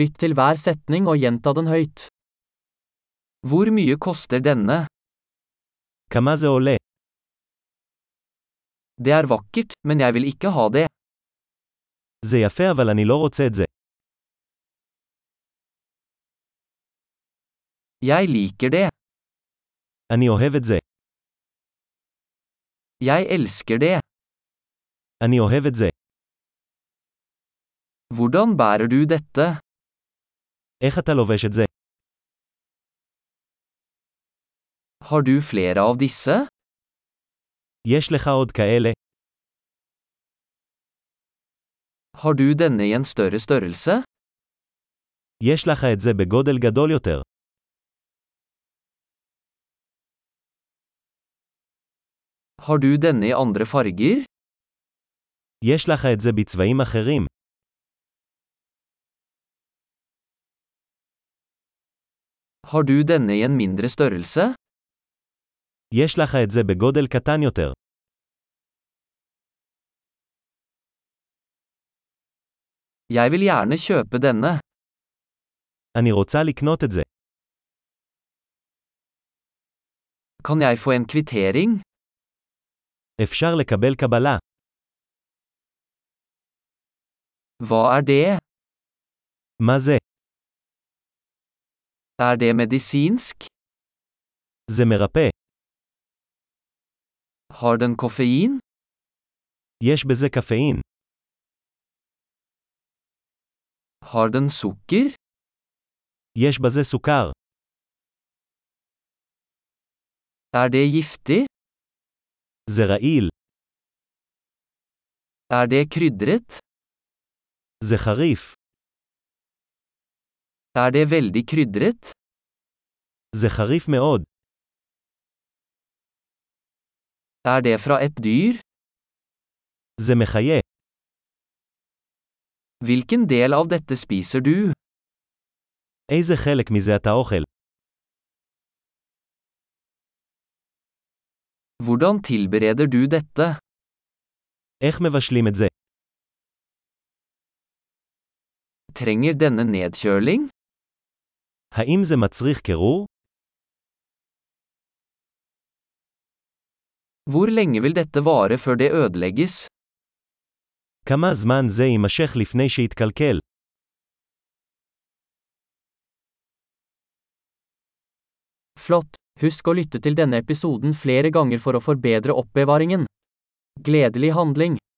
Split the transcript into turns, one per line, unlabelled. Lytt til hver setning og gjenta den høyt. Hvor mye koster denne?
כמה זה עולה?
Det er vakkert, men jeg vil ikke ha det.
זה יפה אבל אני לא רוצה את זה.
Jeg liker det.
אני אוהב את זה.
Jeg elsker det.
אני אוהב את זה.
Hvordan bærer du dette?
איך אתה לובש את זה?
Har du flere av disse?
יש לך עוד כאלה?
Har du denne i en større størrelse?
יש לך את זה בגודל גדול יותר.
Har du denne i andre farger?
יש לך את זה בצבעים אחרים.
Har du denne i en mindre størrelse?
יש לך את זה בגודל קטן יותר.
Jeg vil gjerne kjøpe denne.
אני רוצה לקנות את זה.
Kan jeg få en kvittering?
אפשר לקבל קבלה.
Hva er det?
מה זה?
Er det medisinsk?
זה מרפא.
Har den koffein?
יש בזה קפאין.
Har den sukker?
יש בזה סוכר.
Er det giftig?
זה רעיל.
Er det krydret?
זה חריף.
Er det veldig krydret?
זה חריף מאוד.
Er det fra et dyr?
זה מחיה.
Hvilken del av dette spiser du?
איזה חלק מזה אתה אוכל?
Hvordan tilbereder du dette?
איך מבשלים את זה?
Trenger denne nedkjøling?
האם זה מצריך קירור?
Hvor lenge vil dette vare før det ødelegges?
כמה זמן זה יימשך לפני שיתקלקל?
Flott! Husk å lytte til denne episoden flere ganger for å forbedre oppbevaringen. Gledelig handling!